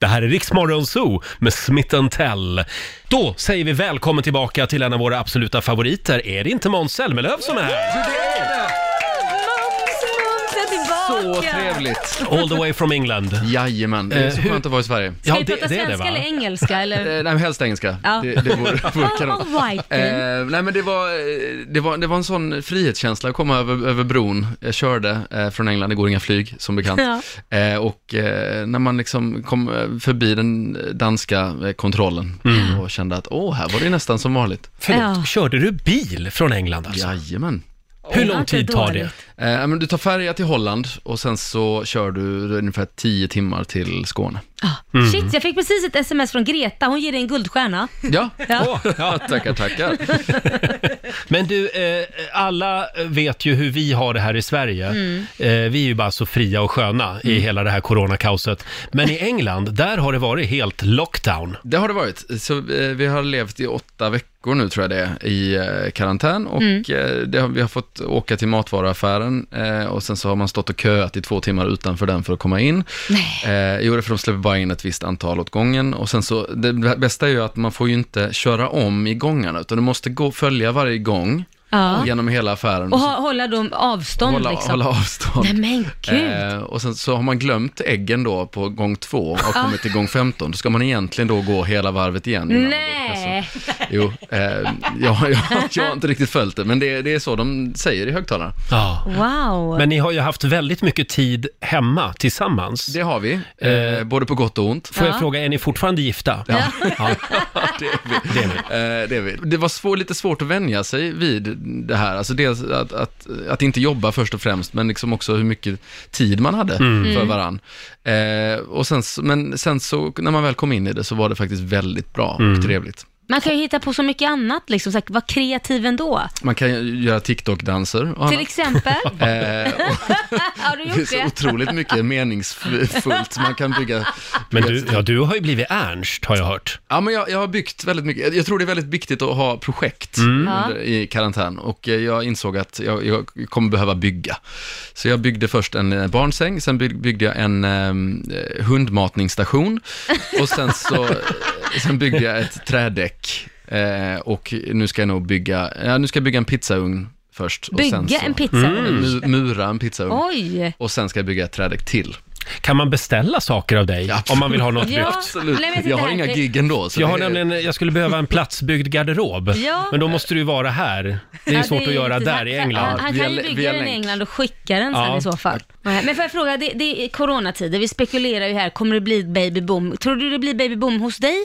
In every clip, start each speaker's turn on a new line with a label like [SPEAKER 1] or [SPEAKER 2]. [SPEAKER 1] Det här är Riksmorgon Zoo med Smith Tell. Då säger vi välkommen tillbaka till en av våra absoluta favoriter. Är det inte Måns Zelmerlöw som är här?
[SPEAKER 2] Så trevligt!
[SPEAKER 1] All the way from England.
[SPEAKER 2] Jajamän, det är
[SPEAKER 1] Eh,
[SPEAKER 2] så
[SPEAKER 1] hur-
[SPEAKER 2] skönt att vara i Sverige.
[SPEAKER 3] Ska
[SPEAKER 1] Ja,
[SPEAKER 3] vi
[SPEAKER 1] det-
[SPEAKER 3] prata
[SPEAKER 1] det är det,
[SPEAKER 3] svenska
[SPEAKER 1] va?
[SPEAKER 3] eller engelska? Eller?
[SPEAKER 2] Eh, nej, helst engelska.
[SPEAKER 3] Ja.
[SPEAKER 2] Det, det vore, vore kanon.
[SPEAKER 3] All right, then.
[SPEAKER 2] Eh, nej men det var, eh, det, var, det var en sån frihetskänsla att komma över, över bron. Jag körde eh, från England, det går inga flyg som bekant.
[SPEAKER 3] Ja.
[SPEAKER 2] Eh, och eh, när man liksom kom eh, förbi den danska eh, kontrollen och kände att åh, här var det nästan som vanligt.
[SPEAKER 1] Förlåt,
[SPEAKER 3] Ja.
[SPEAKER 1] körde du bil från England alltså?
[SPEAKER 2] Jajamän.
[SPEAKER 1] Hur
[SPEAKER 3] Ja,
[SPEAKER 1] lång
[SPEAKER 3] inte
[SPEAKER 1] tid tar det?
[SPEAKER 3] dåligt.
[SPEAKER 2] Eh, ja, men du tar färja till Holland och sen så kör du ungefär 10 timmar till Skåne.
[SPEAKER 3] Ah,
[SPEAKER 2] Mm.
[SPEAKER 3] Shit, jag fick precis ett sms från Greta. Hon ger dig en guldstjärna.
[SPEAKER 2] Ja,
[SPEAKER 3] Ja.
[SPEAKER 2] tackar, tackar.
[SPEAKER 1] Men du, eh, alla vet ju hur vi har det här i Sverige.
[SPEAKER 3] Mm.
[SPEAKER 1] Eh, vi är ju bara så fria och sköna i hela det här coronakaoset. Men i England, där har det varit helt lockdown.
[SPEAKER 2] Det har det varit. Så, eh, vi har levt i åtta veckor nu tror jag det är, i eh, karantän och
[SPEAKER 3] Mm.
[SPEAKER 2] eh, det har, vi har fått åka till matvaruaffären eh, och sen så har man stått och köat i två timmar utanför den för att komma in. Eh, jo, det är för de släpper bara in ett visst antal åt gången och sen så, det bästa är ju att man får ju inte köra om i gångarna utan du måste gå, följa varje gång
[SPEAKER 3] Ja.
[SPEAKER 2] genom hela affären.
[SPEAKER 3] Och
[SPEAKER 2] så
[SPEAKER 3] ha, hålla dem avstånd
[SPEAKER 2] hålla,
[SPEAKER 3] liksom.
[SPEAKER 2] hålla avstånd.
[SPEAKER 3] Nej men gud.
[SPEAKER 2] Eh, och sen så har man glömt äggen då på gång två och kommit till gång 15. Då ska man egentligen då gå hela varvet igen. innan man går till kassan.
[SPEAKER 3] Nej.
[SPEAKER 2] Jo, eh, jag, jag, jag har inte riktigt följt det, men det, det är så de säger i högtalarna.
[SPEAKER 1] Ja.
[SPEAKER 3] Wow.
[SPEAKER 1] Men ni har ju haft väldigt mycket tid hemma tillsammans.
[SPEAKER 2] Det har vi, eh, både på gott och ont.
[SPEAKER 1] Får jag
[SPEAKER 3] Ja.
[SPEAKER 1] fråga, är ni fortfarande gifta?
[SPEAKER 3] Ja.
[SPEAKER 1] Ja.
[SPEAKER 2] det, är vi.
[SPEAKER 1] Det är ni.
[SPEAKER 2] Eh, det, är vi. det var svår, lite svårt att vänja sig vid det här, alltså dels att, att, att inte jobba först och främst, men liksom också hur mycket tid man hade
[SPEAKER 3] Mm.
[SPEAKER 2] för varann. Eh, och sen, så- men sen så, när man väl kom in i det, så var det faktiskt väldigt bra och trevligt.
[SPEAKER 3] Man kan ju hitta på så mycket annat liksom. Så här, var kreativ ändå.
[SPEAKER 2] Man kan ju göra TikTok-danser och
[SPEAKER 3] Till
[SPEAKER 2] annat.
[SPEAKER 3] exempel.
[SPEAKER 2] Eh,
[SPEAKER 3] Har du
[SPEAKER 2] Det är
[SPEAKER 3] gjort
[SPEAKER 2] så
[SPEAKER 3] det?
[SPEAKER 2] otroligt mycket meningsfullt man kan bygga.
[SPEAKER 1] Men du, ja, du har ju blivit Ernst, har jag hört.
[SPEAKER 2] Ja, men jag, jag har byggt väldigt mycket. Jag- Jag tror det är väldigt viktigt att ha projekt
[SPEAKER 1] Mm.
[SPEAKER 2] under, i karantän och eh, jag insåg att jag, jag kommer behöva bygga. Så jag byggde först en eh, barnsäng, sen bygg- byggde jag en eh, hundmatningsstation och sen så eh, sen byggde jag ett trädäck eh, och nu ska jag nog bygga, ja, nu ska jag bygga en pizzaugn först. och sen
[SPEAKER 3] Bygga
[SPEAKER 2] så, Mm.
[SPEAKER 3] en pizza.
[SPEAKER 2] mu- Mura en pizzaugn.
[SPEAKER 3] Oj.
[SPEAKER 2] Och sen ska jag bygga ett trädäck till.
[SPEAKER 1] Kan man beställa saker av dig
[SPEAKER 2] Ja.
[SPEAKER 1] om man vill ha något
[SPEAKER 3] Ja.
[SPEAKER 1] byggt?
[SPEAKER 2] Absolut.
[SPEAKER 3] Nej, men titta
[SPEAKER 2] jag har
[SPEAKER 3] här,
[SPEAKER 2] inga
[SPEAKER 3] det-
[SPEAKER 2] gig ändå. Så
[SPEAKER 1] Jag har
[SPEAKER 2] det är-
[SPEAKER 1] nämligen, jag skulle behöva en platsbyggd garderob.
[SPEAKER 3] Ja.
[SPEAKER 1] Men då måste du ju vara här. Det är
[SPEAKER 3] Ja,
[SPEAKER 1] svårt
[SPEAKER 3] ju
[SPEAKER 1] att göra
[SPEAKER 3] lite
[SPEAKER 1] där
[SPEAKER 3] så här-
[SPEAKER 1] i
[SPEAKER 3] Han,
[SPEAKER 1] England.
[SPEAKER 3] han
[SPEAKER 2] Via
[SPEAKER 3] kan ju
[SPEAKER 2] lä-
[SPEAKER 3] bygga
[SPEAKER 2] via
[SPEAKER 3] den i
[SPEAKER 2] länk.
[SPEAKER 3] England och skicka den sen
[SPEAKER 1] Ja,
[SPEAKER 3] i så fall. Nej, Men får jag fråga, det, det är coronatider, vi spekulerar ju här, kommer det bli babyboom? Tror du det blir babyboom hos dig?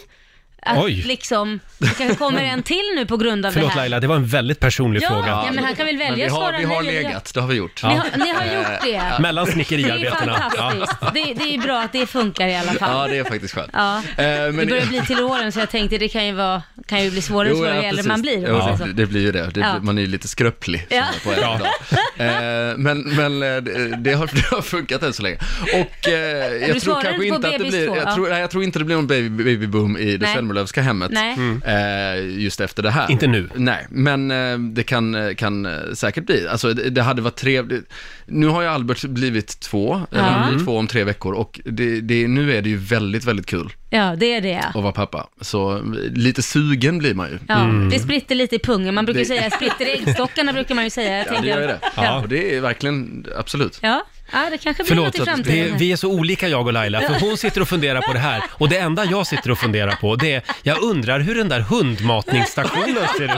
[SPEAKER 3] Att
[SPEAKER 1] Oj.
[SPEAKER 3] liksom, det kanske kommer en till nu på grund av det
[SPEAKER 1] Förlåt
[SPEAKER 3] här.
[SPEAKER 1] Laila, det var en väldigt personlig
[SPEAKER 3] Ja,
[SPEAKER 1] fråga.
[SPEAKER 3] ja, men han kan väl
[SPEAKER 2] Men vi
[SPEAKER 3] välja att svara
[SPEAKER 2] har, vi har
[SPEAKER 3] nej eller ja.
[SPEAKER 2] legat, det har vi gjort.
[SPEAKER 3] Ni har, ni har gjort det.
[SPEAKER 1] Mellan
[SPEAKER 3] Det är
[SPEAKER 1] snickeriarbetena. Ja.
[SPEAKER 3] fantastiskt. Det, det är bra att det funkar i alla fall.
[SPEAKER 2] Ja, det är faktiskt skönt.
[SPEAKER 3] Ja.
[SPEAKER 2] Eh,
[SPEAKER 3] Det
[SPEAKER 2] men
[SPEAKER 3] börjar bli till åren så jag tänkte det kan ju, vara, kan ju bli svårare och
[SPEAKER 2] Jo, ja,
[SPEAKER 3] svårare ju äldre
[SPEAKER 2] precis.
[SPEAKER 3] man blir. om
[SPEAKER 2] Jo,
[SPEAKER 3] man säger så.
[SPEAKER 2] det, det blir ju det. det
[SPEAKER 3] Ja.
[SPEAKER 2] blir- Man är ju lite skröplig.
[SPEAKER 3] Ja.
[SPEAKER 2] sådär På
[SPEAKER 1] Ja.
[SPEAKER 2] ja. eh, men men eh, det, det, har, det har funkat än så länge. Och eh,
[SPEAKER 3] du
[SPEAKER 2] jag tror
[SPEAKER 3] svarar
[SPEAKER 2] kanske
[SPEAKER 3] inte på
[SPEAKER 2] inte att det
[SPEAKER 3] bebis
[SPEAKER 2] blir,
[SPEAKER 3] då, ja.
[SPEAKER 2] jag tror, nej, jag tror inte det blir någon baby, babyboom i det
[SPEAKER 3] Nej.
[SPEAKER 2] Zelmerlöwska hemmet.
[SPEAKER 3] Nej.
[SPEAKER 2] Eh, just efter det här.
[SPEAKER 1] Mm. Inte nu.
[SPEAKER 2] Nej, men eh, det kan, eh, kan eh, säkert bli. Alltså det, det hade varit trevligt. Nu har ju Albert blivit två, eller han
[SPEAKER 1] Mm.
[SPEAKER 2] blir två om tre veckor och det, det, nu är det ju väldigt, väldigt kul
[SPEAKER 3] Ja, det är det.
[SPEAKER 2] att vara pappa. Så eh, lite sugen blir man ju.
[SPEAKER 3] Ja,
[SPEAKER 1] Mm.
[SPEAKER 3] det spritter lite i pungen. Man brukar ju
[SPEAKER 2] Det-
[SPEAKER 3] säga spritter i äggstockarna brukar man ju säga. Jag
[SPEAKER 2] Ja, det
[SPEAKER 3] tänker-
[SPEAKER 2] gör ju det.
[SPEAKER 1] Ja.
[SPEAKER 2] Och det är verkligen, absolut.
[SPEAKER 3] Ja, ja det kanske blir något
[SPEAKER 1] Förlåt,
[SPEAKER 3] i
[SPEAKER 1] att vi,
[SPEAKER 3] framtiden.
[SPEAKER 1] vi är så olika jag och Laila, för hon sitter och funderar på det här och det enda jag sitter och funderar på det är, jag undrar hur den där hundmatningsstationen ser ut.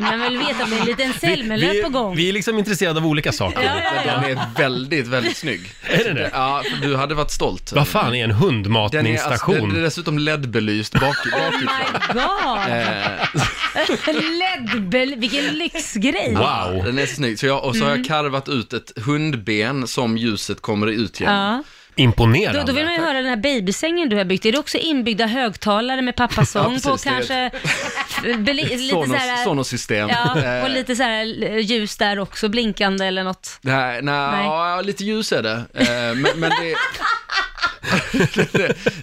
[SPEAKER 3] Man vill veta om det är en liten
[SPEAKER 1] vi,
[SPEAKER 3] Zelmerlöw på gång.
[SPEAKER 1] vi är liksom intresserade av olika
[SPEAKER 3] Ja,
[SPEAKER 1] saker.
[SPEAKER 3] ja, ja.
[SPEAKER 2] Den är väldigt, väldigt snygg.
[SPEAKER 1] Är det det?
[SPEAKER 2] Ja, för du hade varit stolt.
[SPEAKER 1] Vad fan är en
[SPEAKER 2] Den är, alltså, den den är
[SPEAKER 1] hundmatningsstation?
[SPEAKER 2] dessutom LED-belyst bak,
[SPEAKER 3] Oh
[SPEAKER 2] bakifrån.
[SPEAKER 3] my god!
[SPEAKER 2] Eh,
[SPEAKER 3] LED-bel, vilken lyxgrej!
[SPEAKER 1] Wow.
[SPEAKER 2] Den är så snygg. Så jag, och så
[SPEAKER 3] Mm.
[SPEAKER 2] har jag karvat ut ett hundben som ljuset kommer ut genom.
[SPEAKER 3] Ja.
[SPEAKER 1] Imponerande.
[SPEAKER 3] Då, då vill man ju höra den här babysängen du har byggt. Är det också inbyggda högtalare med pappas
[SPEAKER 2] Ja,
[SPEAKER 3] sång
[SPEAKER 2] precis,
[SPEAKER 3] på
[SPEAKER 2] det är
[SPEAKER 3] kanske? Beli, lite så
[SPEAKER 2] Sonos,
[SPEAKER 3] här,
[SPEAKER 2] Sonos-system.
[SPEAKER 3] ja,
[SPEAKER 2] Eh,
[SPEAKER 3] och lite så här ljus där också, blinkande eller något.
[SPEAKER 2] Nej, nej,
[SPEAKER 3] Nej.
[SPEAKER 2] Ja, lite ljus är det. Eh, men, men det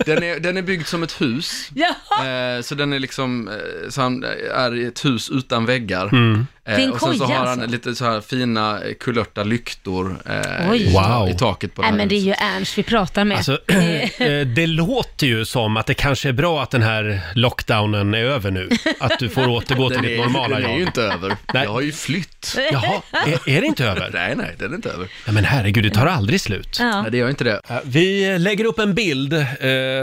[SPEAKER 2] den, är, den är byggd som ett hus.
[SPEAKER 3] Jaha!
[SPEAKER 2] Eh, så den är liksom, eh, så han är i ett hus utan väggar.
[SPEAKER 1] Mm.
[SPEAKER 2] Eh,
[SPEAKER 3] Det är en
[SPEAKER 2] och sen så
[SPEAKER 3] koja,
[SPEAKER 2] har han
[SPEAKER 3] alltså.
[SPEAKER 2] lite så här fina eh, kulörta lyktor eh,
[SPEAKER 3] Oj.
[SPEAKER 2] i, ta-
[SPEAKER 1] Wow.
[SPEAKER 2] i taket på
[SPEAKER 3] Nej
[SPEAKER 2] här
[SPEAKER 3] men det är
[SPEAKER 2] huset.
[SPEAKER 3] ju Ernst vi pratar med.
[SPEAKER 1] Alltså, eh, det låter ju som att det kanske är bra att den här lockdownen är över nu. Att du får återgå till
[SPEAKER 2] Den
[SPEAKER 1] ditt
[SPEAKER 2] är,
[SPEAKER 1] normala
[SPEAKER 2] den är ju
[SPEAKER 1] jag.
[SPEAKER 2] inte över.
[SPEAKER 1] Nej.
[SPEAKER 2] Jag har ju flytt.
[SPEAKER 1] Jaha, är, är det inte över?
[SPEAKER 2] Nej, nej, den är inte över.
[SPEAKER 1] Ja, men herregud, det tar aldrig slut.
[SPEAKER 3] ja.
[SPEAKER 2] Nej, det gör inte det.
[SPEAKER 1] Ja, Vi lägger upp en bild eh,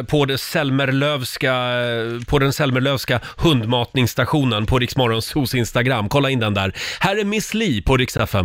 [SPEAKER 1] på, det Selmerlövska, eh, på den Selmerlövska hundmatningsstationen på Riksmorgonsos Instagram. Kolla in den där. Här är Miss Li på Rix FM.